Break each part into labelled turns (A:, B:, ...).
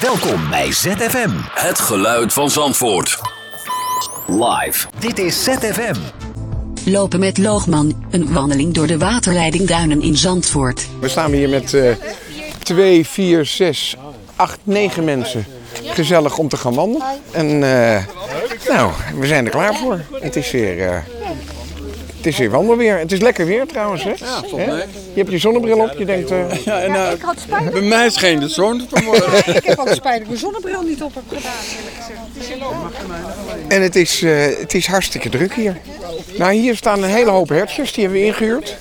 A: Welkom bij ZFM.
B: Het geluid van Zandvoort.
A: Live. Dit is ZFM.
C: Lopen met Loogman, een wandeling door de waterleiding Duinen in Zandvoort.
D: We staan hier met eh twee, vier, zes, acht, negen mensen. Gezellig om te gaan wandelen. En eh, nou, we zijn er klaar voor. Het is weer, eh, het is weer wandelweer. Het is lekker weer trouwens. Hè? Hè? Je hebt je zonnebril op. Je denkt, eh,
E: Ja, en, nou,
F: Ik had spijt.
E: bij mij scheen de zon vanmorgen.
F: Ik heb altijd spijt dat ik mijn zonnebril niet op heb gedaan. eerlijk gezegd.
D: en het is, eh, het is hartstikke druk hier. Nou, hier staan een hele hoop hertjes. Die hebben we ingehuurd.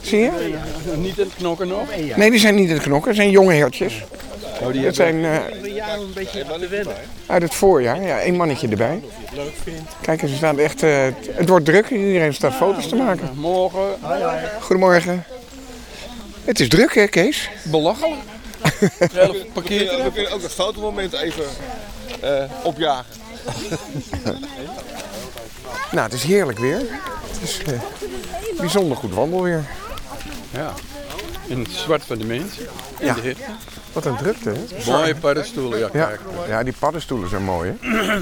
D: Zie je?
E: Niet in het knokken nog.
D: Nee, die zijn niet in het knokken. Het zijn jonge hertjes. Het zijn eh, Uit het voorjaar, ja, één mannetje erbij. Kijk, ze staan echt. eh, het wordt druk, iedereen staat foto's te maken.
E: Morgen,
D: Goedemorgen. Het is druk, hè, Kees?
E: belachelijk. Zelf parkeert
G: We kunnen ook een fotomoment even eh, opjagen.
D: Nou, het is heerlijk weer. Het is eh, bijzonder goed wandelweer.
E: In het zwart van de mens. In
D: Ja.
E: de hitte.
D: Wat een drukte, hè?
E: Mooie paddenstoelen, ja,
D: Ja,
E: kijk.
D: ja die paddenstoelen zijn mooi, hè?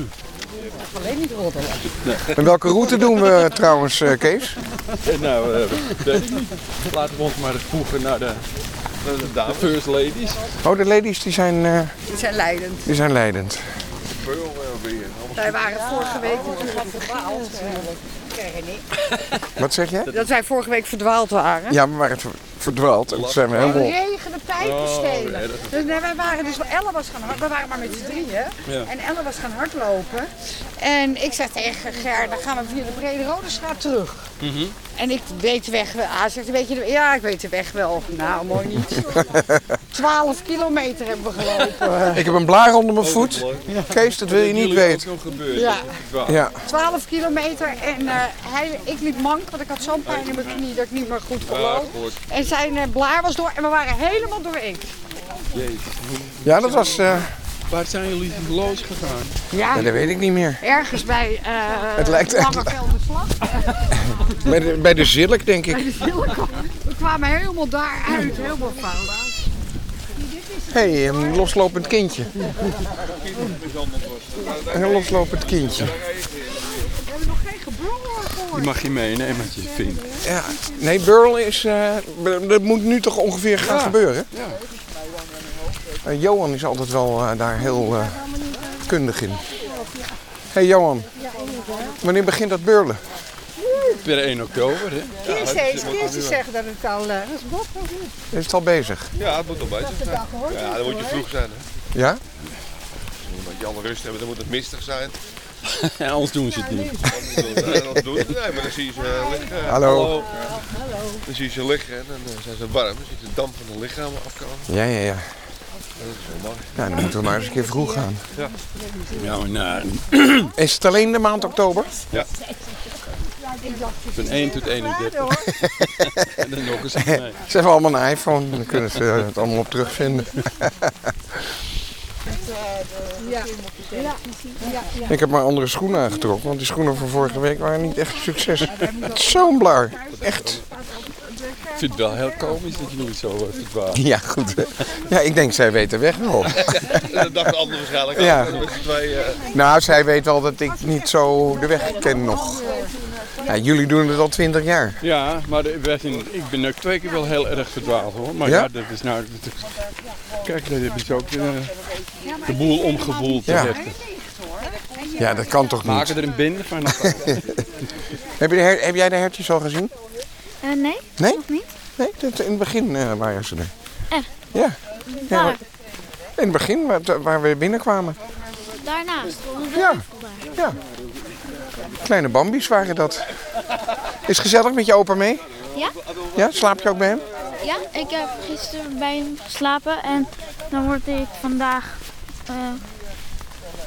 D: En welke route doen we trouwens, eh, Kees?
E: En nou, eh, de- laten we ons maar eens voegen naar de, naar de dames. first ladies.
D: Oh, de ladies die zijn, eh,
F: Die zijn leidend.
D: die zijn leidend.
F: Wij waren vorige week natuurlijk verdwaald.
D: Wat zeg jij?
F: Dat wij vorige week verdwaald waren.
D: Ja, maar het verdwaalt. Het zijn we helemaal
F: Regen, de pijpen stelen. Dus nee, wij waren dus Ella was gaan hard, we waren maar met z'n drieën. En Ella was gaan hardlopen. En ik zeg tegen Ger, dan gaan we via de Brede Rode Straat terug. En ik weet de weg wel. Ah, zegt een beetje, ja, ik weet de weg wel. Nou, mooi niet. 12 kilometer hebben we gelopen.
D: Ik heb een blaar onder mijn voet. Kees, Oh, dat wil je niet weten.
G: Ook nog gebeurd.
F: Ja.
D: Ja,
F: 12 kilometer en eh, hij, ik liep mank, want ik had zo'n pijn in mijn knie dat ik niet meer Ah, goed kon lopen. En zijn eh, blaar was door en we waren helemaal doorheen.
D: ja dat was... eh,
E: Waar zijn jullie los gegaan?
F: Ja,
D: ja, dat weet ik niet meer.
F: ergens bij eh
D: Het lijkt echt-
F: Langevelderslag.
D: Bij de, bij de Zilk, denk ik.
F: We kwamen helemaal daaruit, helemaal fout.
D: Hé, hey, een loslopend kindje. Een loslopend kindje.
F: We hebben nog geen gebrul
E: Die
F: gehoord.
E: mag je meenemen als je het vindt.
D: Ja. Nee, Burl is... eh, b- dat moet nu toch ongeveer gaan gebeuren? Ja. Johan is altijd wel eh, daar heel eh, kundig in. Hé hey, Johan, wanneer begint dat burlen?
E: Per 1 oktober, hè?
F: Kirstees, Kirstees zeggen dat het al... eh, dat is Bob, of niet?
D: Is het al bezig?
G: Ja, het moet al bezig zijn. Ja, dan moet je vroeg zijn. Hè.
D: Ja?
G: Dan moet je alle rust hebben, dan moet het mistig zijn.
E: Ja, anders doen ze het niet.
G: En dat doen ze. Nee, maar dan zie je ze eh, liggen.
D: Hallo.
G: Dan zie je ze liggen en dan eh, zijn ze warm. Dan ziet de damp van hun lichaam afkomen.
D: Ja, ja, ja.
G: Dat is wel mooi.
D: Nou, dan moeten we maar eens een keer vroeg gaan.
E: Nou, nou,
D: Is het alleen de maand oktober?
E: van 1 tot 31. en dan nog eens. Nee.
D: Ze hebben allemaal een iPhone, dan kunnen ze het allemaal op terugvinden. Ik heb maar andere schoenen aangetrokken, want die schoenen van vorige week waren niet echt een succes. Het is Zo'n blaar. Echt.
E: Ik vind het wel heel komisch dat jullie zo eh, verdwalen.
D: Ja, goed. hè. Ja, ik denk zij weet de weg wel.
G: En dat dacht de ander waarschijnlijk ook.
D: Ja.
G: Ja. Met z'n twee, eh,
D: Nou, zij weet wel dat ik niet zo de weg ken nog. Ja, jullie doen het al twintig jaar.
E: Ja, maar de- wij zijn- ik ben ook twee keer wel heel erg verdwaald hoor. Maar
D: Ja?
E: ja, dat is nou. dat is- kijk, dat hebben ze ook eh, de boel omgevoeld.
D: Ja.
E: te zetten.
D: Ja, dat kan toch niet.
E: Maken er een binder van. of-
D: Heb, je de her- heb jij de hertjes al gezien?
H: Eh, nee,
D: Nee?
H: nog niet.
D: Nee, dat, in het begin eh, waren ze er.
H: Echt?
D: Ja. ja
H: Waar?
D: maar- in het begin, waar, waar we binnenkwamen.
H: Daarnaast.
D: Ja. Ja. Kleine bambies waren dat. Is gezellig met je opa mee?
H: Ja?
D: Ja, slaap je ook bij hem?
H: Ja, ik heb gisteren bij hem geslapen en dan word ik vandaag eh,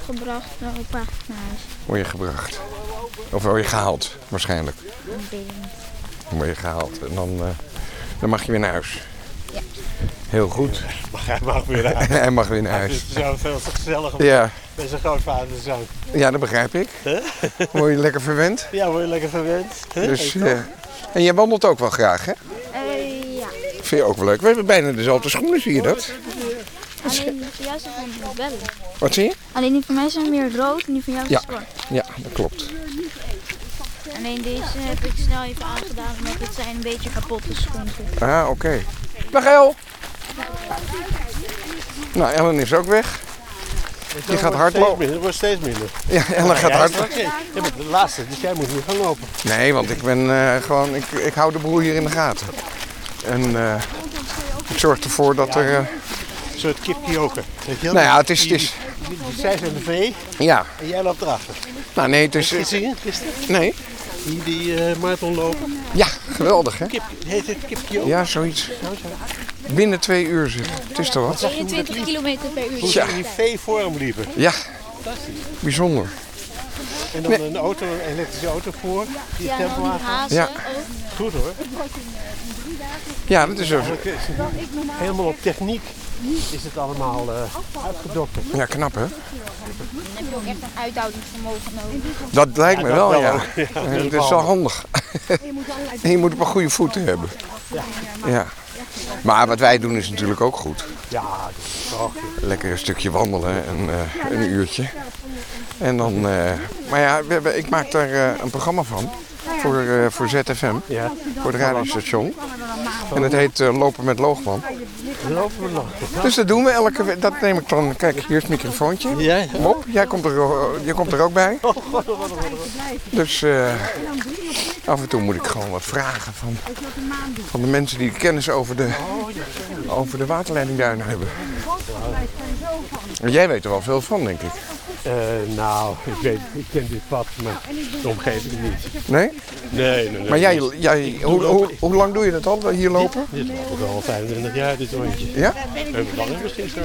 H: gebracht naar opa naar huis.
D: Word je gebracht. Of word je gehaald, waarschijnlijk. Dan word je gehaald en dan, eh, dan mag je weer naar huis. Heel goed.
I: Hij mag weer uit.
D: Hij mag weer naar
I: Het
D: huis.
I: is zo veel te gezellig om
D: Ja,
I: met zijn grootvader zo.
D: ja dat begrijp ik. Word je lekker verwend.
I: Ja, word je lekker verwend. hè?
D: Dus, eh, en jij wandelt ook wel graag, hè?
H: Eh, ja.
D: Vind je ook wel leuk. We hebben bijna dezelfde schoenen, zie je dat?
J: Alleen die van jou zijn van bellen.
D: Wat zie je?
J: Alleen die van mij zijn meer rood en die van jou zijn
D: Ja.
J: zwart.
D: Ja, dat klopt.
J: Alleen deze heb ik snel even aangedaan, want dit zijn een beetje kapotte schoenen.
D: Ah, oké. Dag El. Nou, Ellen is ook weg. Je gaat hardlopen.
H: Het wordt steeds minder.
D: Ja, Ellen gaat hardlopen.
H: Je bent de laatste, dus jij moet nu gaan lopen.
D: Nee, want ik ben eh, gewoon, ik, ik hou de boel hier in de gaten. En eh, ik zorg ervoor dat er, eh,
H: Een soort kipkioker. eh, Weet je wel?
D: nou ja, het is, het
H: Die-
D: is,
H: die- die- Zij zijn de vee
D: ja.
H: en jij loopt erachter.
D: Nou nee, het
H: Heb je het
D: is, eh,
H: gezien gisteren?
D: nee.
H: Die, die eh marathon lopen.
D: Ja, geweldig hè?
H: Kip, heet het kipkioker?
D: Ja, zoiets. Binnen twee uur zeg. Het is toch wat?
J: 21 kilometer per uur.
H: Hoe ze in die vee voor hem liepen.
D: Ja, bijzonder.
H: En dan een auto, een elektrische auto voor. Die
J: Ja, en dan
H: tempo
J: die hazen
D: Ja.
J: ook.
H: Goed hoor.
D: Ja, dat is zo.
H: Helemaal op techniek is het allemaal eh uitgedokterd.
D: Ja, knap hè?
J: Dan heb je ook echt een uithoudingsvermogen nodig.
D: Dat lijkt me
H: dat
D: wel,
H: wel
D: ja.
H: ook. Ja,
D: Eh,
H: dat is
D: Dat is
H: wel
D: wel handig. En je moet op een goede voeten hebben. Ja. Maar wat wij doen is natuurlijk ook goed.
H: Ja, dat is toch.
D: Lekker een stukje wandelen, en, eh, een uurtje. En dan, eh, maar ja, we hebben- ik maak daar eh, een programma van. Voor, eh, voor ZFM,
H: Ja.
D: voor het radiostation. En het heet eh, Lopen met Loogman.
H: Lopen we nog.
D: Dus dat doen we elke week. Dat neem ik dan. Kijk, hier is het microfoontje.
H: Ja. Oh,
D: Bob, jij komt er, eh, je komt er ook bij. Dus eh, af en toe moet ik gewoon wat vragen van, van de mensen die kennis over de, over de waterleidingduinen hebben. En Jij weet er wel veel van, denk ik.
H: Eh, nou, ik, weet, ik ken dit pad, maar de omgeving niet.
D: Nee?
H: Nee, nee, nee.
D: Maar jij, jij hoe, hoe, hoe lang doe je dat al, hier lopen?
H: Dit loopt al 25 jaar, dit rondje.
D: Ja?
H: Even langer misschien zo.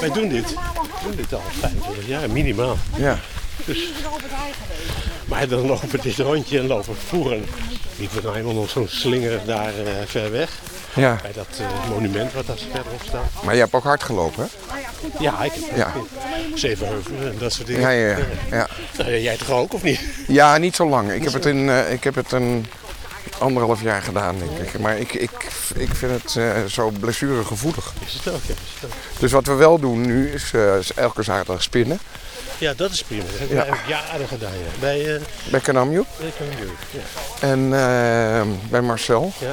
H: Wij doen dit. We doen dit al 25 jaar, minimaal.
D: Ja.
H: Maar dan lopen we dit rondje en lopen we vroeger. Liepen we nou helemaal nog zo'n slinger daar eh, ver weg.
D: ja.
H: Bij dat eh, monument wat daar verderop staat.
D: Maar jij hebt ook hard gelopen, hè?
H: Ja, ik heb
D: Ja.
H: Zevenheuvelen en dat soort dingen.
D: Ja, ja, ja. eh, ja.
H: Nou, jij toch ook, of niet?
D: Ja, niet zo lang. Ik heb het, in, eh, ik heb het een anderhalf jaar gedaan, denk ik. Maar ik, ik, ik vind het eh, zo blessuregevoelig.
H: Is het ook, ja. is het ook.
D: Dus wat we wel doen nu is eh, is elke zaterdag spinnen
H: Ja, dat is prima. Dat hebben
D: Ja.
H: we eigenlijk jaren gedaan, ja. Bij eh
D: bij Kanamjoe
H: bij Cambuur, ja.
D: en eh, bij Marcel.
H: Ja.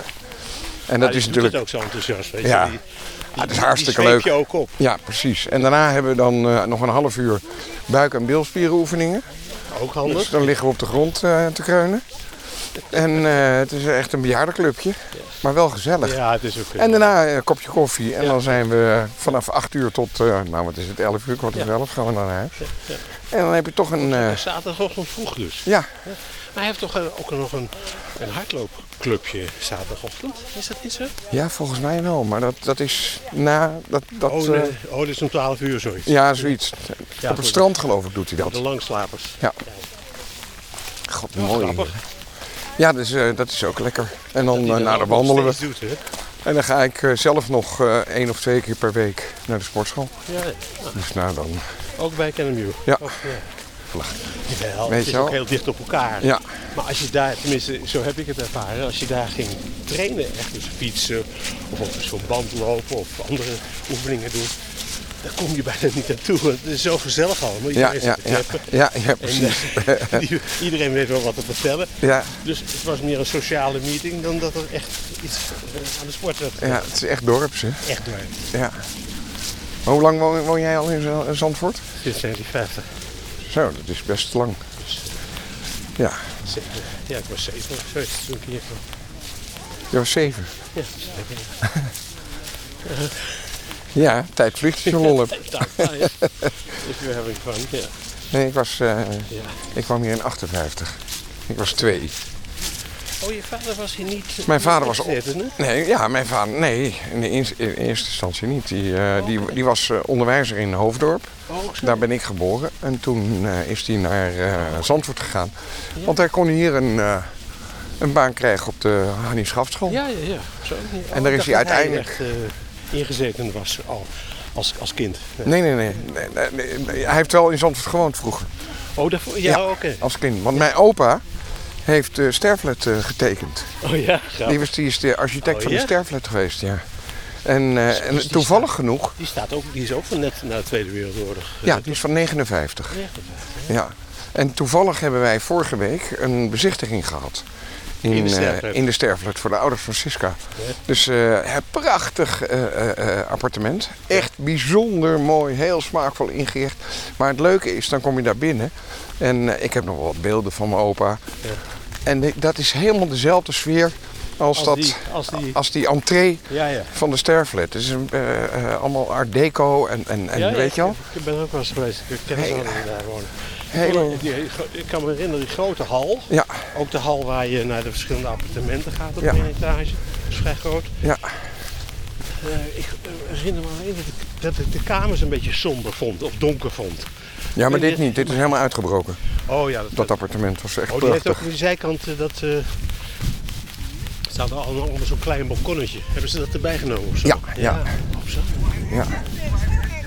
D: En
H: Maar
D: dat
H: je
D: is
H: doet
D: natuurlijk...
H: het ook zo enthousiast, weet je.
D: Ja.
H: Die, die,
D: het is
H: die
D: hartstikke
H: zweep
D: leuk.
H: je ook op.
D: Ja, precies. En daarna hebben we dan eh, nog een half uur buik- en bilspierenoefeningen.
H: Ook
D: Dus
H: handig.
D: dan liggen we op de grond eh, te kreunen. En eh, het is echt een bejaardenclubje, maar wel gezellig.
H: Ja, het is ook... eh,
D: En daarna een kopje koffie. En dan zijn we eh, vanaf 8 uur tot, eh, nou wat is het, 11 uur, kwart over 11 gaan we naar huis. En dan heb je toch een, eh,
H: Zaterdagochtend vroeg dus.
D: ja,
H: Maar hij heeft toch eh, ook nog een, een hardloopclubje zaterdagochtend? Is dat niet zo?
D: ja, volgens mij wel. Maar dat, dat is na, dat, dat
H: oh,
D: eh,
H: nee. oh, dit is om 12 uur zoiets.
D: ja, zoiets.
H: Ja,
D: Op
H: voor
D: het
H: de-
D: strand geloof ik doet hij
H: voor De
D: dat.
H: langslapers.
D: Ja. God, mooi.
H: Grappig.
D: Ja, dus, eh, dat is ook lekker. En dan, eh,
H: Die
D: nou,
H: dat
D: dan wandelen
H: nog
D: we.
H: steeds Doet, hè?
D: En dan ga ik eh, zelf nog eh, één of twee keer per week naar de sportschool.
H: Ja, ja.
D: Dus nou dan,
H: ook bij Kennemew.
D: Ja.
H: Of, ja. Jawel,
D: Weet
H: het is
D: je wel.
H: ook heel dicht op elkaar.
D: ja.
H: Maar als je daar, tenminste, zo heb ik het ervaren, als je daar ging trainen, echt dus fietsen of op zo'n band lopen of andere oefeningen doen, daar kom je bijna niet naartoe. Het is zo gezellig allemaal.
D: Ja,
H: Iedereen
D: ja,
H: zit te
D: ja,
H: kleppen.
D: ja, ja,
H: En,
D: precies.
H: eh, die- iedereen weet wel wat te vertellen.
D: Ja,
H: Dus het was meer een sociale meeting dan dat er echt iets eh, aan de sport werd
D: ja, het is echt dorps, hè.
H: echt door.
D: Ja. Maar hoe lang woon, woon jij al in Z- Zandvoort?
H: Sinds 1950.
D: Zo, dat is best lang. Ja,
H: Dus, eh, Zeven. Ja, ik was zeven of zoiets toen ik hier kwam.
D: je was zeven.
H: Ja, zeven.
D: Ja, tijd vliegt als je lol hebt.
H: Nou, nou ja. If you're having fun, ja.
D: Nee, ik, was, eh,
H: ja.
D: ik kwam hier in 58. Ik was twee.
H: Oh, je vader was hier niet... eh,
D: Mijn vader was op-
H: opzettende?
D: Nee, ja, mijn vader, nee, in, de eerste- in eerste instantie niet. Die, eh, die, die was eh, onderwijzer in Hoofddorp.
H: Oh, zo.
D: Daar ben ik geboren. En toen eh, is hij naar eh, Zandvoort gegaan. Want hij kon hier een, eh, een baan krijgen op de Hannie Schaftschool.
H: Ja, ja, ja. Zo.
D: En daar
H: ik
D: is
H: dacht
D: hij
H: dat
D: uiteindelijk-
H: echt, eh, ingezeten was al als, als kind.
D: Nee, nee, nee, nee, nee, nee, nee. Hij heeft wel in Zandvoort gewoond vroeger.
H: Oh, daarvoor? Ja,
D: Ja.
H: oké.
D: als kind. Want mijn opa heeft eh Sterflet eh, getekend.
H: Oh ja, grappig.
D: Die, was, die is de architect
H: Oh,
D: van de
H: ja?
D: Sterflet geweest, ja. En, eh, en
H: Dus die
D: toevallig
H: staat-
D: genoeg,
H: Die, staat ook, die is ook van net na de Tweede Wereldoorlog. eh,
D: ja, die is van 59.
H: Echt,
D: Ja. En toevallig hebben wij vorige week een bezichtiging gehad. In,
H: In de
D: eh,
H: Sterfhut.
D: in de Sterfhut voor de ouders van Siska. Dus eh, een prachtig eh, eh, eh, appartement. Echt bijzonder mooi, heel smaakvol ingericht. Maar het leuke is, dan kom je daar binnen. En eh, ik heb nog wel wat beelden van mijn opa. En ik- dat is helemaal dezelfde sfeer als,
H: Als
D: dat,
H: die- als die-
D: als die entree
H: Ja, ja.
D: van de Sterflet. Het is een, eh, eh, allemaal art deco en, en, en
H: Ja, ja,
D: weet je al?
H: Ik, ik ben er ook wel eens geweest. Ik ken
D: Hele-
H: ze allemaal die daar wonen.
D: Hele,
H: Die- Ik kan me herinneren, die grote hal.
D: ja,
H: Ook de hal waar je naar de verschillende appartementen gaat op
D: Ja.
H: één etage. Dat is vrij groot.
D: ja.
H: Eh, ik eh, herinner me alleen dat ik, dat ik de kamers een beetje somber vond. Of donker vond.
D: Ja, maar dit niet. Dit is helemaal uitgebroken.
H: Oh ja,
D: Dat appartement was echt
H: Oh, die heeft ook
D: prachtig.
H: aan de zijkant eh, dat... eh staat er allemaal allemaal zo'n klein balkonnetje. Hebben ze dat erbij genomen of zo?
D: Ja, ja.
H: Of zo.
D: Ja.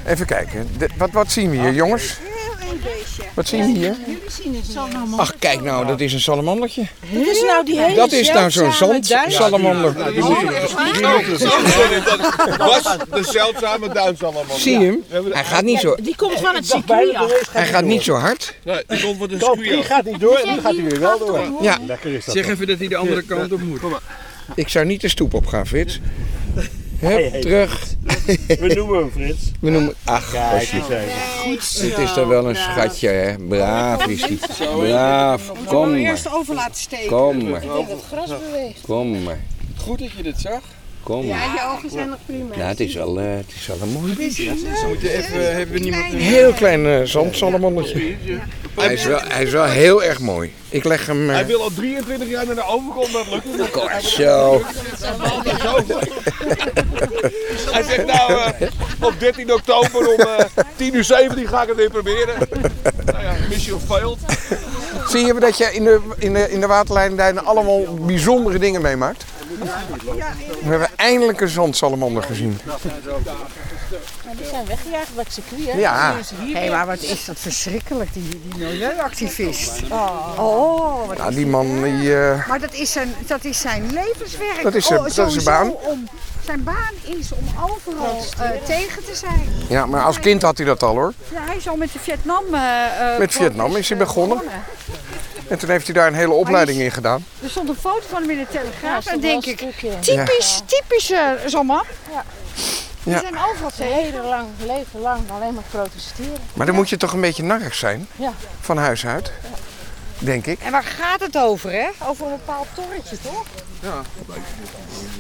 D: Even kijken. De- wat, wat zien we
H: Ah.
D: hier, jongens?
F: Heel een beestje.
D: Wat zien we hier?
F: Jullie zien het zo
D: Ach, kijk nou, dat is een salamandertje.
F: Dit is nou die hele
D: Dat is nou zo'n
F: zeldzame duif.
D: zandsalamander.
G: Oh,
K: Was de zeldzame duins allemaal.
D: Zie je hem? Hij gaat niet zo,
F: Die komt van het circuit af.
D: hij gaat niet zo hard.
K: Nee, die komt wat een
H: Die
K: squeal.
H: gaat niet door en die gaat hij weer wel door.
D: Ja,
H: Lekker is dat.
G: Zeg even dat hij de andere kant op moet.
D: ik zou niet de stoep op gaan, Frits. Hup, terug.
H: We noemen hem Frits.
D: We noemen... Ach, gastje. Dit is toch wel een schatje, hè? Braaf is die. Braaf. Kom maar.
F: Eerst over laten steken.
D: Kom maar. Kom maar.
G: Goed dat je dit zag.
D: Kom maar.
F: Ja, je ogen zijn nog prima.
D: Nou, het is wel, eh, het is wel een mooi beestje.
G: Ze moeten even, hebben we niemand...
D: Heel klein eh, zandzalamandertje. Hij is, wel, hij is wel heel erg mooi. Ik leg hem...
K: Hij
D: eh
K: wil al 23 jaar naar de overkant, dat lukt niet.
D: kort zo.
K: Hij zegt nou, eh, op 13 oktober om eh 10 uur 17 ga ik het weer proberen. Nou ja, mission failed.
D: Zie je dat je in de, in de, in de waterleidingduinen allemaal bijzondere dingen meemaakt? We hebben eindelijk een zandsalamander gezien. Die zijn weggejaagd bij het circuit,
F: Hé, maar wat is dat verschrikkelijk, die, die milieuactivist. Oh, wat
D: Ja, nou, die man die... eh,
F: Maar dat is zijn, dat is zijn levenswerk. Oh,
D: Dat is zijn- dat is zijn
F: sowieso
D: baan.
F: Om, zijn baan is om overal eh, tegen te zijn.
D: ja, maar als kind had hij dat al, hoor.
F: Ja, hij is al met de Vietnam. eh, eh,
D: Met Vietnam is hij begonnen. En toen heeft hij daar een hele opleiding in gedaan.
F: Er stond een foto van hem in de Telegraaf. en denk ik, typisch, typisch eh, zo'n man. Die
D: Ja.
F: zijn overal tegen.
D: Maar dan moet je toch een beetje narrig zijn? Van huis uit, denk ik.
F: En waar gaat het over, hè? Over een bepaald torretje, toch?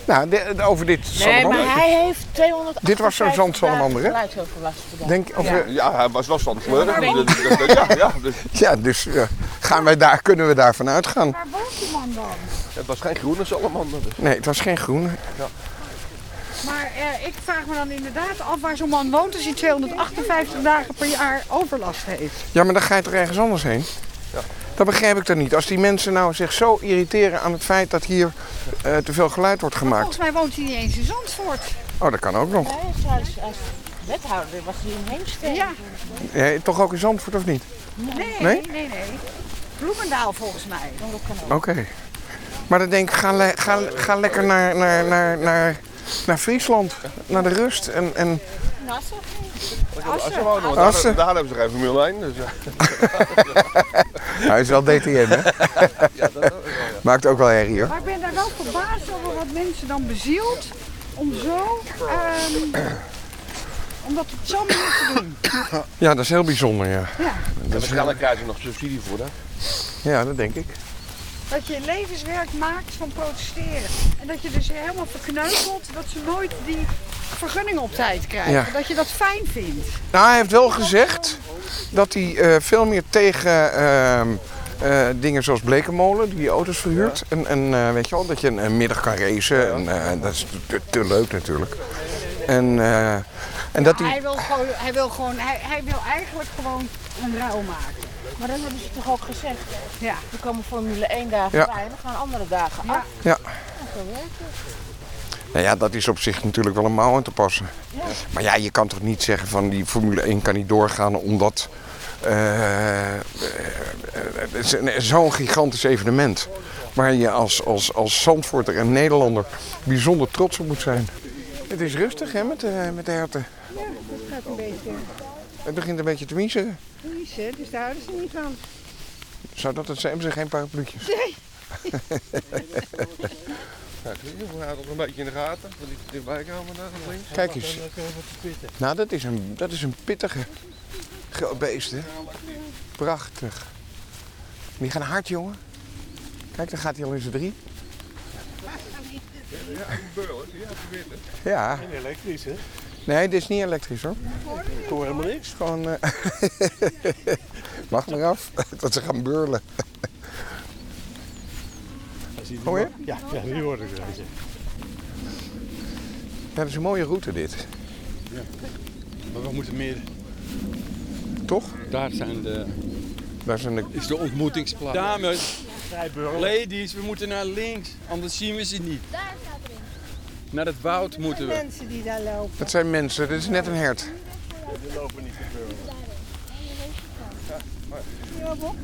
D: Nou, de- de- over dit salamander.
F: hij heeft 200...
D: Dit was zo'n zandsalamander, hè? Denk, of, ja.
K: Ja, hij was wel van kleuren. Ja, ja, dus
D: ja, dus eh, gaan wij daar, kunnen we daarvan uitgaan?
F: Waar woont die man dan?
K: het was geen groene salamander. Dus.
D: Nee, het was geen groen.
F: Maar eh, ik vraag me dan inderdaad af waar zo'n man woont als hij 258 dagen per jaar overlast heeft.
D: Ja, maar dan ga je toch ergens anders heen? Dat begrijp ik dan niet. Als die mensen nou zich zo irriteren aan het feit dat hier eh, te veel geluid wordt gemaakt.
F: Volgens mij woont hij niet eens in Zandvoort.
D: Oh, dat kan ook nog.
F: Ja,
D: Eh, toch ook in Zandvoort of niet?
F: nee,
D: Nee?
F: nee, nee. Bloemendaal volgens mij.
D: Oké. Maar dan denk ik, ga, le- ga, ga lekker naar, naar, naar, naar, naar Friesland. Naar de rust. En, en
K: Oh, nou, Assen wonen, want
D: Assen.
K: Daar, daar hebben ze geen Formule 1. Dus ja.
D: Hij is wel DTM, hè? Maakt ook wel herrie, hoor.
F: Maar ik ben daar wel verbaasd over wat mensen dan bezielt om zo... ehm om dat op zo'n manier te doen.
D: Ja, dat is heel bijzonder, ja.
K: Dat is wel krijgen ze nog subsidie voor, hè?
D: Ja, dat denk ik.
F: Dat je levenswerk maakt van protesteren. En dat je dus helemaal verkneukelt dat ze nooit die vergunning op tijd krijgen.
D: Ja.
F: Dat je dat fijn vindt.
D: Nou, hij heeft wel gezegd dat hij eh, veel meer tegen ehm, eh, dingen zoals Blekenmolen, die auto's verhuurt. En, en eh, weet je wel, dat je een, een middag kan racen. En, eh, dat is te, te leuk natuurlijk. En, eh, en dat hij...
F: Hij wil gewoon, hij wil, gewoon hij, hij wil eigenlijk gewoon een ruil maken.
L: Maar dat hebben ze toch ook gezegd?
F: Ja.
L: Er komen Formule 1 dagen
D: Ja.
L: bij en dan gaan andere dagen af.
D: Nou ja, dat is op zich natuurlijk wel een mouw aan te passen. Maar ja, je kan toch niet zeggen van die Formule 1 kan niet doorgaan omdat... eh, eh, het is een- Zo'n gigantisch evenement. Waar je als, als, als Zandvoorter en Nederlander bijzonder trots op moet zijn. Het is rustig hè, met, de- met de herten.
F: Ja, dat gaat een beetje.
D: Het begint een beetje te miezeren.
F: Vriezen, dus daar houden ze niet van.
D: Zou dat het zijn? Hebben ze geen parapluutjes?
F: Nee.
G: Ja, ik weet niet, we houden het nog een beetje in de gaten. We niet dichtbij komen daar nog links.
D: Kijk eens. Nou, dat is een, dat is een pittige ge- beest, hè? Prachtig. Die gaan hard, jongen. Kijk, daar gaat hij al in zijn drie.
G: Ja, een beul, hè? Ja, te winnen.
D: Ja.
H: En elektrisch, hè?
D: Nee, dit is niet elektrisch, hoor.
H: Ik hoor helemaal niks.
D: Gewoon... eh, Wacht maar af dat ze gaan beurlen.
H: Als hij die
D: Hoor je?
H: ma- Ja, ja, die hoor ik wel. ja.
D: Ja, dat is een mooie route, dit.
G: Maar we moeten meer...
D: Toch?
G: Daar zijn de...
D: Daar zijn de...
G: Is de ontmoetingsplaats. Dames,
H: Vrijburg.
G: ladies, we moeten naar links. Anders zien we ze niet. Daar staat erin. Naar het woud moeten we.
F: Mensen die daar lopen.
D: Dat zijn mensen. Dit is net een hert.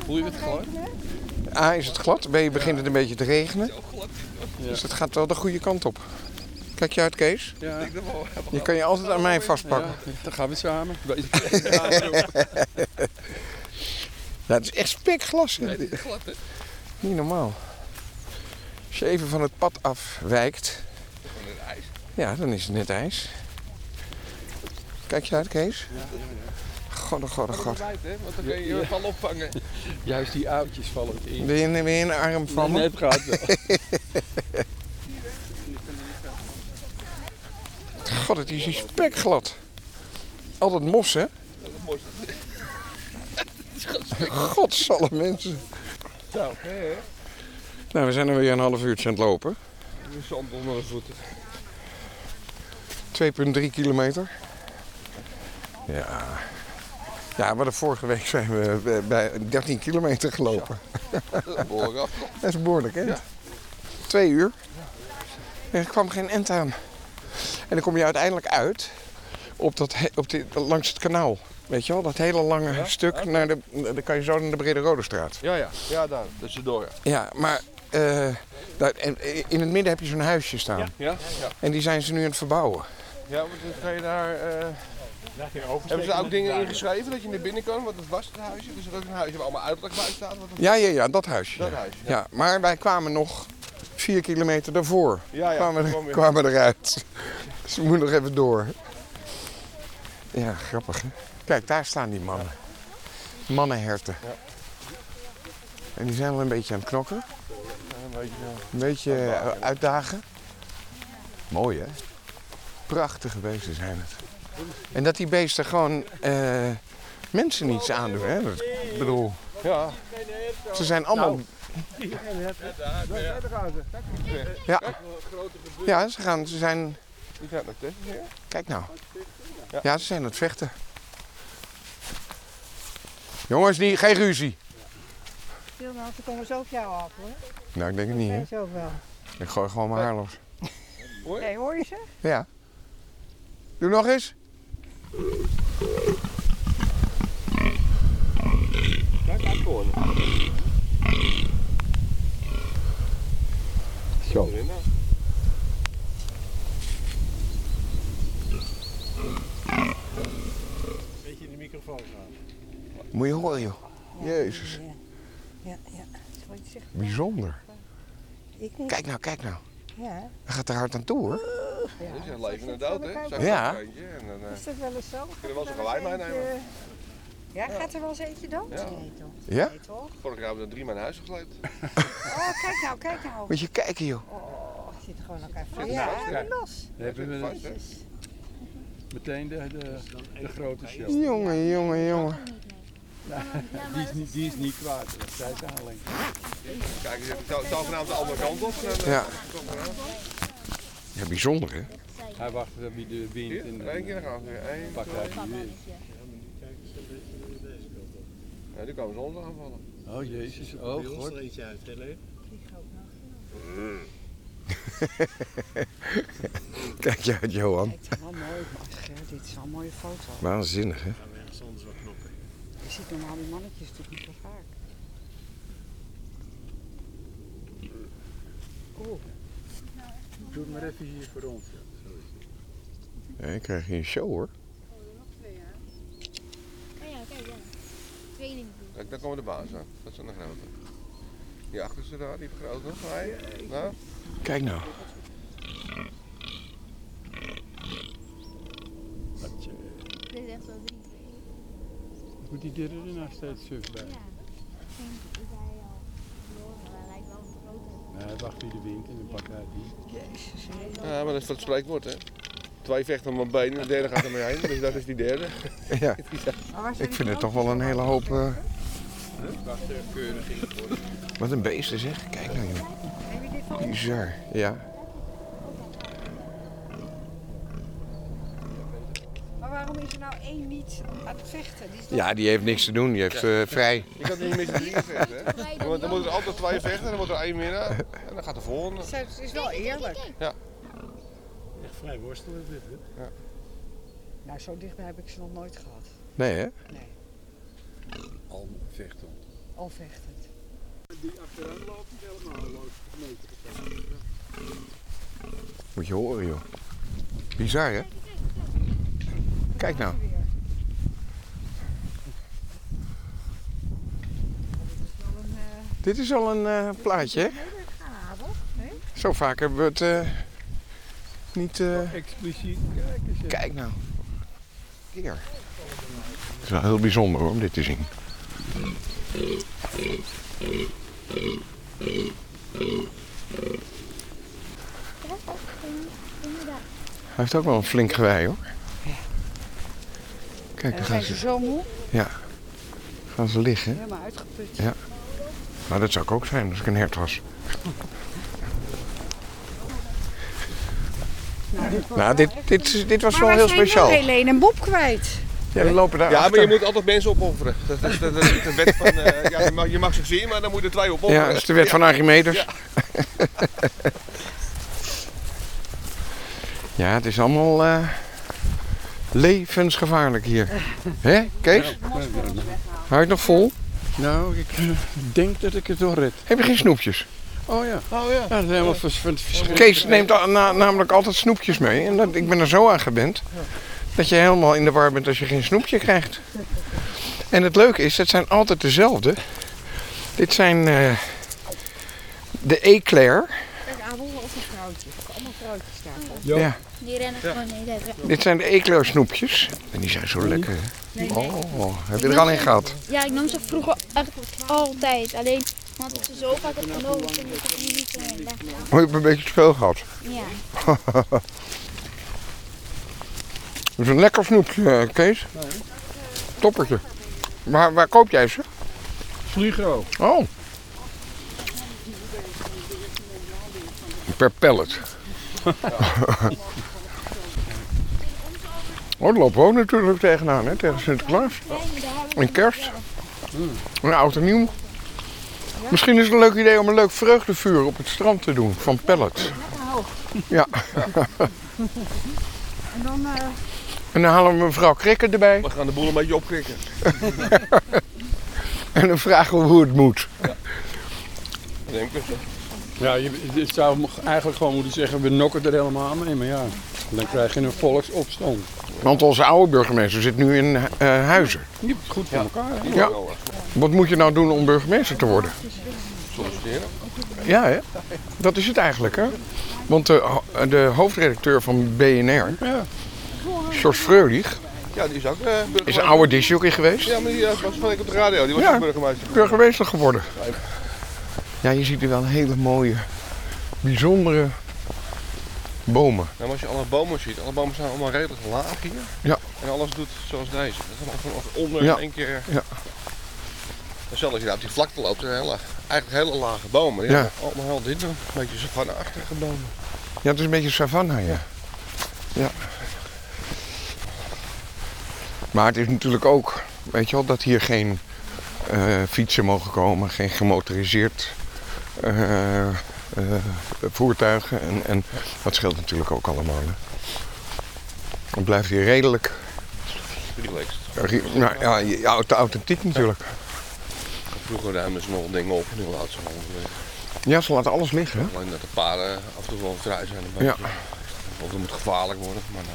G: Voel je het geluid?
D: A, Ah, is het glad. B, begint het een beetje te regenen. Dus het gaat wel de goede kant op. Kijk je uit, Kees?
G: Ja.
D: Je kan je altijd aan mij vastpakken.
G: Ja, dan gaan we samen.
D: Nou, het is echt spekglas. hè.
G: dit is glad, hè?
D: Niet normaal. Als je even van het pad afwijkt. Ja, dan is het net ijs. Kijk je uit, Kees? Godde, godde, god.
G: hè? Want dan kun je het al opvangen. Juist die oudjes vallen het in.
D: Wil je, wil je een arm van me?
G: Net gaat wel.
D: God, het is hier spekglad. Al dat mos, hè? Godsalle mensen.
G: Nou, hè?
D: Nou, we zijn er weer een half uurtje aan het lopen.
G: Je zand onder de voeten.
D: 2,3 kilometer. Ja. Ja, maar de vorige week zijn we bij- bij 13 kilometer gelopen.
G: Behoorlijk
D: Dat is behoorlijk, hè? Twee uur. En er kwam geen end aan. En dan kom je uiteindelijk uit op dat, he- op die, langs het kanaal. Weet je wel, dat hele lange stuk. Naar de, dan kan je zo naar de Brede Rode Straat.
G: Ja, ja. Ja, daar. Tussendoor, ja.
D: Ja, maar eh, daar, en- in het midden heb je zo'n huisje staan.
G: Ja? Ja.
D: En die zijn ze nu aan het verbouwen.
G: Ja, want dan ga je daar... eh,
H: Daar ging
G: Hebben ze daar ook
H: dingen
G: dingen ingeschreven dat je naar binnen kan? Want het was het huisje. Dus er is ook een huisje waar allemaal uitleg bij staat. Wat het-
D: Ja, ja, ja, dat huisje.
G: Dat
D: ja.
G: huisje,
D: Ja. maar wij kwamen nog vier kilometer daarvoor.
G: Ja, ja,
D: kwamen,
G: toen
D: er-
G: kwam je-
D: kwamen eruit. Dus we moeten nog even door. Ja, grappig hè. Kijk, daar staan die mannen. Mannenherten. En die zijn wel een beetje aan het knokken. Een beetje eh, uitdagen. Mooi hè. Prachtige beesten zijn het. En dat die beesten gewoon eh, mensen niets aandoen hè. Dat, ik bedoel,
G: Ja.
D: ze zijn allemaal Ja. Ja, ze, gaan, ze zijn...
G: Die gaat nog tegen. Ja.
D: Kijk nou.
G: Ja.
D: Ja, ze zijn aan het vechten. Jongens, niet, geen ruzie.
F: Tilman, ze komen zo op jou af hoor.
D: Nou, ik denk het niet, hè.
F: Dat is ook wel.
D: Ik gooi gewoon mijn haar los.
F: Nee, hoor je ze?
D: Ja. Doe nog eens. Zo.
H: Een beetje in de microfoon gaan.
D: Moet je horen, joh. Jezus.
F: Ja, ja. Wat je zegt,
D: Bijzonder.
F: ik niet.
D: Kijk nou, kijk nou.
F: Ja.
D: Hij gaat er hard aan toe, hoor.
G: Dat is een leven en dood, hè? Zo'n
D: Ja.
G: kleintje En dan, eh,
F: Is dat wel eens zo?
G: we wel eens een gewei meenemen?
F: eh, Ja, gaat er wel eens eentje dood?
G: Ja.
F: Nee toch?
D: Ja?
F: Nee toch?
G: vorig jaar hebben we er drie man naar huis gesleept.
F: Oh, kijk nou, kijk nou.
D: Moet je kijken, joh.
F: Oh, het zit gewoon elkaar vast.
G: er vast,
F: Ja,
G: ja.
F: die los. Dus.
G: Hebben we vast, hè?
F: Jezus.
G: Meteen de, de, de grote show.
D: Jongen, jongen, jongen.
G: Die is niet, die is niet kwaad, dat zij ze aanleggen. Kijk, het zou vanavond de andere kant op. En, eh,
D: Ja. Ja, bijzonder, hè?
E: Hij wacht op wie de
G: hier,
E: wint en
G: één keer gaan we. Eén,
E: pak
G: twee.
E: hij die wint.
G: Ja, nu komen ze ons aanvallen.
E: Oh jezus, oh god.
H: er eentje uit, hè, Leen?
D: Kijk je uit, Johan.
F: Kijk, het is wel mooi, Ger. Dit is wel een mooie foto.
D: Waanzinnig, hè?
H: Gaan we ergens anders wat knoppen.
F: Je ziet normaal die mannetjes natuurlijk niet zo vaak.
E: Doe het maar even hier voor ons. ja. Zo is het.
D: Ja, dan krijg je een show hoor.
J: Ja, kijk, ja. Training doen.
G: Kijk, daar komen de baas aan. Dat zijn de grote. Die achterste daar, die vergroot nog. Hij, nou.
D: Kijk nou.
J: Dit is echt wel drie.
E: Moet die dieren er nou steeds suf bij? Nee, wacht hij de wind en dan pakt hij die. Jezus.
G: Ja, maar dat is wat het spreekwoord, hè. Twee vechten om mijn benen, de derde gaat er mee heen. Dus dat is die derde.
D: Ja. Ik vind het toch wel een hele hoop. eh,
G: Wacht, eh, keurig in worden.
D: wat een beesten zeg. Kijk nou joh. Bizar. Ja.
F: Maar waarom is er nou één niet aan het vechten? Die is
D: Ja, die heeft niks te doen. Die heeft eh, vrij.
G: Je kan niet met z'n drieën vechten, hè. Want Dan moeten er altijd twee vechten, dan wordt er één winnaar. En dan gaat de volgende.
F: Zo, Het is wel eerlijk.
G: Ja.
H: Echt vrij worstelen dit, hè? Ja.
F: Nou, zo dichtbij heb ik ze nog nooit gehad.
D: Nee hè?
F: Nee,
E: Al vechten.
F: al vechtend.
E: Die achteruit loopt niet helemaal loopt meter
D: Moet je horen joh. Bizar hè? Kijk nou. Dit is al een eh, plaatje hè? Zo vaak hebben we het eh, niet... eh,
E: Expliciet, kijk eens. hè.
D: Kijk nou. Keer. Het is wel heel bijzonder hoor, om dit te zien. Hij heeft ook wel een flink gewei hoor. Kijk,
F: en dan
D: daar
F: zijn
D: gaan
F: ze
D: ze,
F: zo moe,
D: ja, gaan ze liggen.
F: helemaal uitgeput.
D: Ja. Maar dat zou ik ook zijn als ik een hert was. Nou, dit, dit, is- dit was
F: Maar
D: wel
F: wij
D: heel
F: zijn
D: speciaal.
F: wel Helene en Bob kwijt.
D: Ja, we lopen daar
G: Ja, maar
D: achter.
G: je moet altijd mensen opofferen. Dat is de, de, de wet van... eh, ja, je, mag, je mag ze zien, maar dan moet je er twee opofferen.
D: Ja, dat is de wet van
G: Ja.
D: Archimedes.
G: Ja.
D: Ja. het is allemaal eh, levensgevaarlijk hier. Hè, Kees? Hou je het nog vol?
E: Nou, ik eh, denk dat ik het wel red.
D: Heb je geen snoepjes?
E: Oh ja. Oh ja. Dat is helemaal vers- vers- verschrikkelijk.
D: Kees neemt al- na- namelijk altijd snoepjes mee. En dat, ik ben er zo aan gewend dat je helemaal in de war bent als je geen snoepje krijgt. En het leuke is, het zijn altijd dezelfde. Dit zijn eh, de eclair.
F: Kijk, Abel, ook een vrouwtje. Allemaal vrouwtjes daar.
D: Ja.
J: Die rennen gewoon niet uit.
D: Dit zijn de Eclair snoepjes. En die zijn zo lekker. hè?
J: Nee, nee.
D: Oh, heb je er al in gehad?
J: Ja, ik nam ze vroeger echt altijd. Alleen, want ik ze zo vaak heb genomen, vind ik het niet eh, lekker.
D: Oh, je hebt een beetje te veel gehad.
J: Ja.
D: Dat is een lekker snoepje, eh, Kees. Toppertje. Waar, waar koop jij ze?
E: Vliegro.
D: Oh. Per pallet. oh, dat lopen we ook natuurlijk tegenaan, hè? tegen Sinterklaas. En kerst. En oud en nieuw. Misschien is het een leuk idee om een leuk vreugdevuur op het strand te doen van pallets.
F: hoog.
D: Ja.
F: En dan... eh,
D: en dan halen we mevrouw Krikken erbij.
G: We gaan de boel een beetje opkrikken.
D: En dan vragen we hoe het moet.
G: Denk ik.
E: Ja, je, je zou mo- eigenlijk gewoon moeten zeggen, we nokken er helemaal mee. Maar ja, dan krijg je een volksopstand.
D: Want onze oude burgemeester zit nu in eh, Huizen.
E: Je hebt het goed voor elkaar. hè?
D: Ja.
G: eh,
D: Wat moet je nou doen om burgemeester te worden?
G: Solliciteren.
D: Ja, hè? dat is het eigenlijk. Hè? Want de, ho- de hoofdredacteur van BNR,
E: Ja.
D: George Freulich,
G: Ja, die is ook eh burgemeester.
D: is een oude disjockey geweest.
G: Ja, maar die eh, was van ik op de radio. Die was
D: Ja.
G: ook burgemeester.
D: Burgemeester geworden. Ja, je ziet er wel hele mooie, bijzondere bomen.
G: Nou, maar als je alle bomen ziet, alle bomen zijn allemaal redelijk laag hier.
D: Ja.
G: En alles doet zoals deze. Dat is allemaal vanaf onder
D: Ja.
G: in één keer.
D: Ja.
G: En zelfs als je daar op die vlakte loopt, zijn heel laag. Eigenlijk hele lage bomen. Die
D: Ja.
G: hebben Allemaal heel dit doen. Een beetje savanneachtige bomen.
D: Ja, het is een beetje savanna, ja. ja. Maar het is natuurlijk ook, weet je wel, dat hier geen eh, fietsen mogen komen, geen gemotoriseerd eh, eh, voertuigen. En, en dat scheelt natuurlijk ook allemaal. Hè. Het blijft hier redelijk,
G: Relaxed.
D: re- nou, ja, je- ja, te authentiek natuurlijk.
G: Vroeger ruimden ze nog dingen op en nu laten ze gewoon weer.
D: Ja, ze laten alles liggen. Hè?
G: Alleen dat de paarden af en toe wel vrij zijn. Een
D: Ja.
G: beetje. Of het moet gevaarlijk worden. Maar dan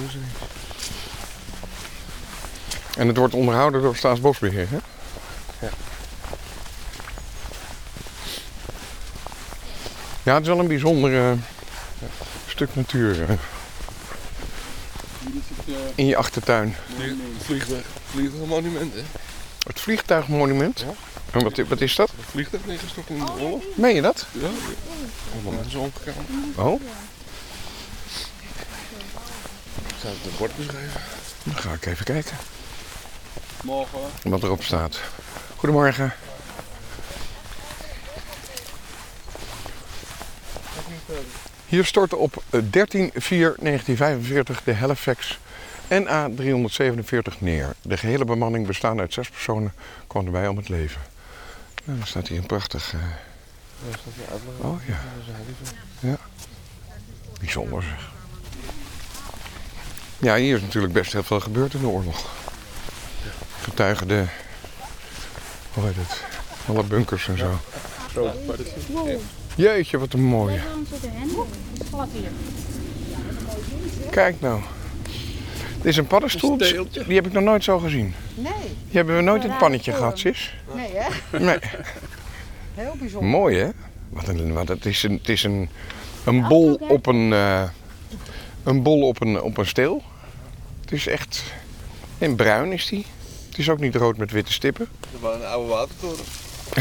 D: doen ze niet. En het wordt onderhouden door Staatsbosbeheer, hè?
H: Ja.
D: Ja, het is wel een bijzonder eh, stuk natuur eh, in je achtertuin.
K: Vliegtuig, vliegtuigmonument, hè?
D: Het vliegtuigmonument. En wat, wat is dat?
K: Een vliegtuig neergestort in de oorlog.
D: Meen je dat?
K: Ja. Helemaal mensen omgekomen.
D: Oh,
K: Ik zou het bord beschrijven.
D: dan ga ik even kijken
E: Morgen.
D: wat erop staat. Goedemorgen. Hier stortte op 13-4-1945 de Halifax NA-347 neer. De gehele bemanning bestaande uit zes personen kwam erbij om het leven. Nou, dan staat hier een prachtig... eh, Oh ja. Ja. Bijzonder zeg. Ja, hier is natuurlijk best heel veel gebeurd in de oorlog. Getuigen de... Hoe heet het? Alle bunkers en zo.
E: Grote partij.
D: Jeetje, wat een mooie.
J: Waarom zit er hen? Glad hier.
D: Kijk nou. Dit is een paddenstoel.
E: Een steeltje.
D: Die heb ik nog nooit zo gezien.
F: Nee,
D: Die hebben we nooit in het pannetje
F: Ja,
D: gehad, sis.
F: nee hè?
D: Nee.
F: Heel bijzonder.
D: Mooi, hè? Wat een, wat, het is een, het is een, een bol op een, eh, een bol op een, op een steel. Het is echt... En bruin is die. Het is ook niet rood met witte stippen.
K: Dat was een oude watertoren.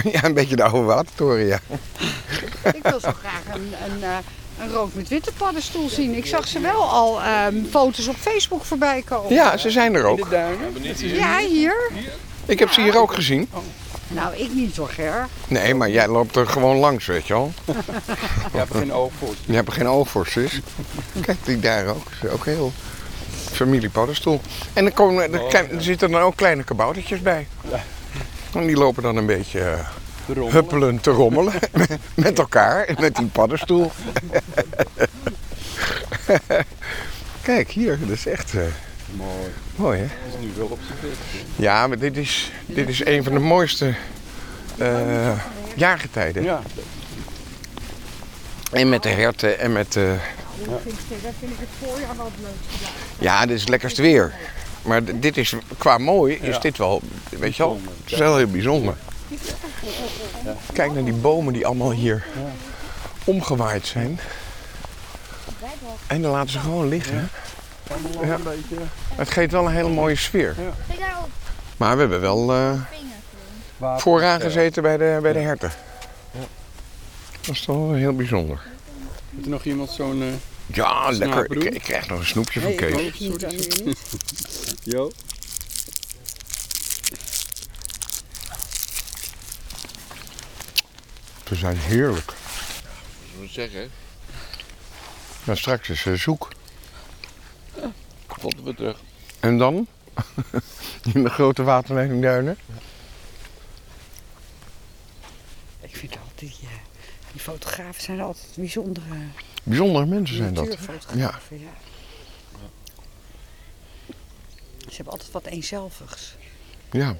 D: ja, een beetje de oude watertoren, ja.
F: Ik wil zo graag een, een, eh, een rood met witte paddenstoel zien. Ik zag ze wel al ehm, foto's op Facebook voorbij komen.
D: Ja, ze zijn er ook.
E: duinen?
F: Ja, hier.
D: Ik heb ze hier ook gezien.
F: Nou, ik niet hoor, Ger.
D: Nee, maar jij loopt er gewoon langs, weet je wel.
E: Je hebt geen oog voor.
D: Je hebt er geen oog voor, zus. Kijk, die daar ook. Is Ook heel familie paddenstoel. En er, komen, er, kle- er zitten dan ook kleine kaboutertjes bij. En die lopen dan een beetje eh, huppelend te rommelen. met elkaar, met die paddenstoel. Kijk, hier, dat is echt eh,
E: Mooi.
D: mooi, hè?
E: Dat is nu wel op zijn best.
D: Ja, maar dit is, dit is een van de mooiste eh, jaargetijden.
E: Ja.
D: En met de herten en met... eh,
F: Dat vind ik het voorjaar wel leuk.
D: Ja, dit is het lekkerste weer. Maar d- dit is, qua mooi, is dit wel, weet je wel, het is wel heel bijzonder. Kijk naar die bomen die allemaal hier omgewaaid zijn. En dan laten ze gewoon liggen. Ja.
E: Een beetje.
D: Het geeft wel een hele mooie sfeer.
J: Kijk daarop,
D: Maar we hebben wel eh,
J: vinger.
E: Wapen.
D: vooraan gezeten bij de, bij de herten. Dat is toch wel heel bijzonder.
E: Heeft er nog iemand zo'n... eh,
D: Ja, lekker.
E: Snaproe.
D: Ik, ik krijg nog een snoepje van
E: oh,
D: Kees.
E: sorry, sorry.
F: niet.
E: Jo.
D: Ze zijn heerlijk.
K: Dat moet ik zeggen.
D: Maar straks is ze zoek.
K: Tot we terug.
D: En dan? In de grote waterleiding Duinen.
F: Ik vind altijd, ja, die fotografen zijn altijd bijzondere
D: Bijzondere mensen zijn dat.
F: natuurfotografen. Ja. Ze hebben altijd wat eenzelvigs.
D: Ja.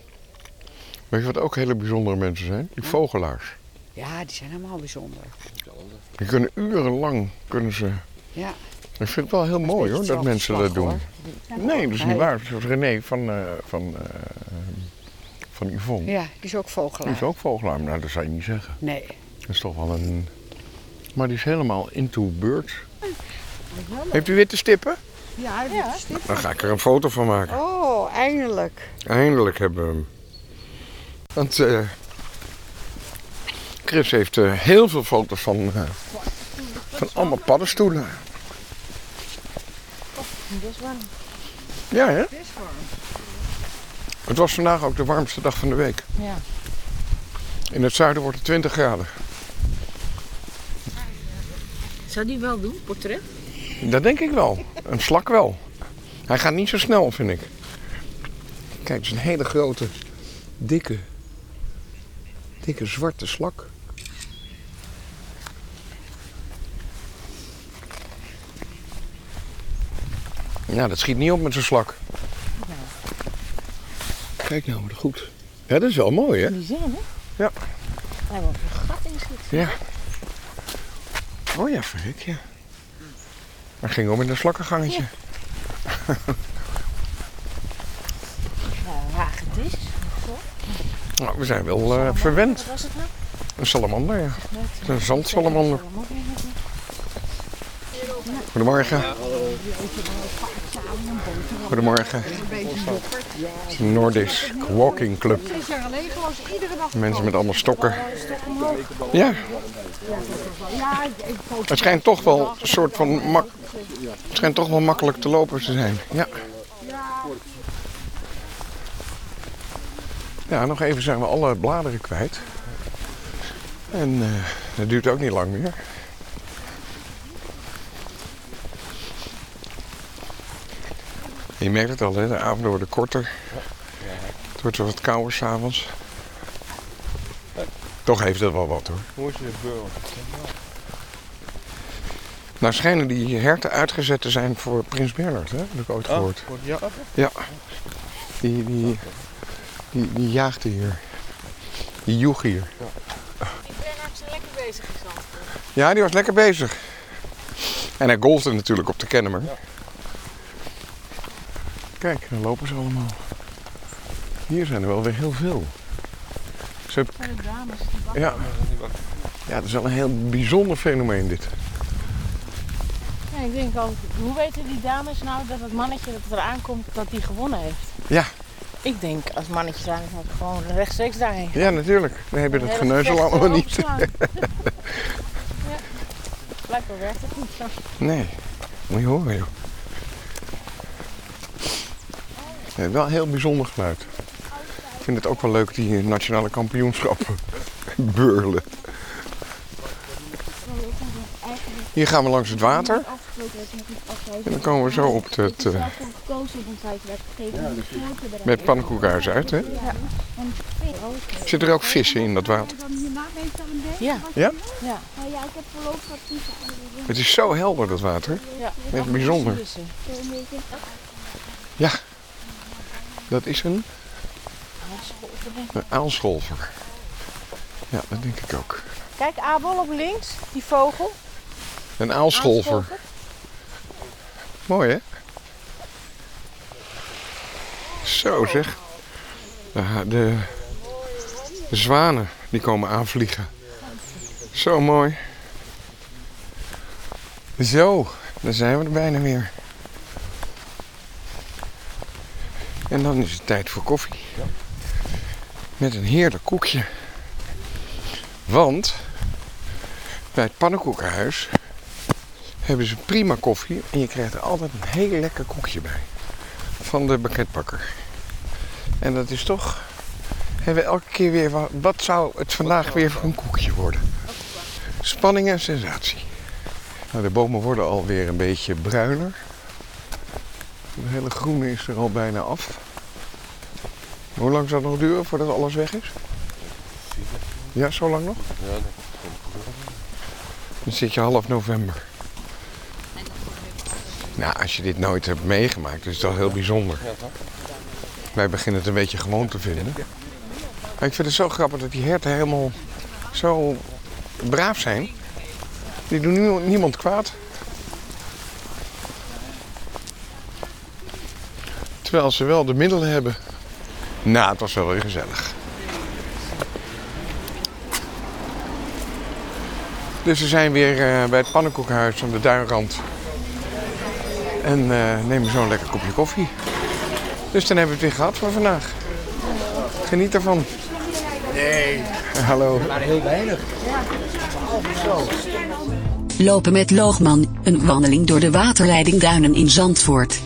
D: Weet je wat ook hele bijzondere mensen zijn? Die vogelaars.
F: Ja, die zijn helemaal bijzonder.
D: Die kunnen urenlang, kunnen ze...
F: Ja.
D: Ik vind het wel heel mooi hoor, dat
F: hetzelfde
D: mensen dat doen.
F: slag,
D: Nee, dat is niet
F: Nee.
D: waar. Zoals René van, eh, van, eh, van Yvonne.
F: Ja, die is ook
D: Die
F: vogelaar.
D: is ook vogelaar, maar nou, dat zou je niet zeggen.
F: Nee.
D: Dat is toch wel een... Maar die is helemaal into birds. Heeft u witte stippen?
F: Ja, hij ja. Stipt.
D: Dan ga ik er een foto van maken.
F: Oh, eindelijk.
D: Eindelijk hebben we hem. Want eh, Chris heeft eh, heel veel foto's van, eh, van allemaal paddenstoelen. Ja, hè?
F: Het is warm.
D: Het was vandaag ook de warmste dag van de week.
F: Ja.
D: In het zuiden wordt het 20 graden.
L: Zou die wel doen, portret?
D: Dat denk ik wel. Een slak wel. Hij gaat niet zo snel, vind ik. Kijk, het is een hele grote, dikke, dikke zwarte slak. Ja, dat schiet niet op met zo'n slak. Kijk nou, wat goed. Ja, dat is wel mooi, hè?
L: Die zijn, hè?
D: Ja.
L: Hij wordt een gat in schiet.
D: Ja. Oh ja, verrek, ja. Hij ging om in een slakkengangetje.
L: Nou, hagedis.
D: Nou, we zijn wel eh, verwend.
L: Wat was het nou?
D: Een salamander, ja.
L: net.
D: Een zandsalamander. Goedemorgen. Goedemorgen. Het is een Nordisk Walking Club.
F: Zes jaar geleden was iedere dag.
D: Mensen met allemaal stokken.
F: Stokken omhoog.
D: Ja,
F: Ja, ik- ik poot-
D: het schijnt toch wel een soort van mak het schijnt toch wel makkelijk te lopen te zijn. Ja. ja, nog even zijn we alle bladeren kwijt. En eh, dat duurt ook niet lang meer. Je merkt het al, hè? de avonden worden korter. Het wordt wat kouder s'avonds. Toch heeft het wel wat hoor.
G: Hoe is je de beul?
D: Nou schijnen die herten uitgezet te zijn voor Prins Bernhard, hè? Dat heb ik ooit
G: Ah,
D: gehoord.
G: voor- ja.
D: Ja. Die, die, die, die jaagde hier. Die joeg hier.
L: Ik ben hartstikke lekker bezig in
D: Ja, die was lekker bezig. En hij golfde natuurlijk op de Kennemer. Kijk, daar lopen ze allemaal. Hier zijn er wel weer heel veel. Ze... Ja. ja, dat is wel een heel bijzonder fenomeen dit.
L: Ja, ik denk al, hoe weten die dames nou dat het mannetje dat eraan komt, dat die gewonnen heeft?
D: Ja,
L: Ik denk, als het mannetje eraan komt, gewoon rechtstreeks daarheen.
D: ja natuurlijk. Dan heb je
L: Een
D: dat
L: hele
D: geneuzel
L: gevecht
D: allemaal niet.
L: overslaan. ja, blijkbaar werkt het niet zo.
D: Nee, moet je horen joh. Nee, wel een heel bijzonder geluid. Ik vind het ook wel leuk, die eh, nationale kampioenschappen. Beurlen. Hier gaan we langs het water. En dan komen we zo op het, eh,
M: gekozen op ons huis werd gegeven. om de smaak te bereiden.
D: Met het pannenkoekhuis uit, hè?
M: Ja. En oh,
D: Zitten er ook vissen in dat water?
L: Ja.
D: Ja?
L: Ja.
M: Nou ja, ik heb voorlopig wat vissen aan de
D: Het is zo helder, dat water.
L: Ja.
D: Echt bijzonder.
M: Zo'n beetje.
D: Ja. Dat is een... Een aalscholver. Ja, dat denk ik ook.
L: Kijk, Abel op links, die vogel.
D: Een aalscholver. Mooi, hè? Zo zeg. De, de, de zwanen die komen aanvliegen. Zo mooi. Zo, daar zijn we er bijna weer. En dan is het tijd voor koffie. Met een heerlijk koekje. Want bij het pannenkoekenhuis hebben ze prima koffie en je krijgt er altijd een heel lekker koekje bij. Van de bakketbakker. En dat is toch, hebben we elke keer weer, wa- wat zou het vandaag weer voor een koekje worden? Spanning en sensatie. Nou, de bomen worden alweer een beetje bruiner. De hele groene is er al bijna af. Hoe lang zal het nog duren voordat alles weg is? Ja, zo lang nog?
G: Ja, dat
D: Dan zit je half november. Nou, als je dit nooit hebt meegemaakt, is dat heel bijzonder. Wij beginnen het een beetje gewoon te vinden. Maar ik vind het zo grappig dat die herten helemaal zo braaf zijn. Die doen niemand- niemand kwaad. Terwijl ze wel de middelen hebben. Nou, het was wel weer gezellig. Dus we zijn weer eh, bij het pannenkoekhuis aan de duinrand. En eh, nemen zo'n lekker kopje koffie. Dus dan hebben we het weer gehad voor vandaag. Geniet ervan. Nee. Hallo.
N: Maar heel weinig.
C: Lopen met Loogman, een wandeling door de waterleiding Duinen in Zandvoort.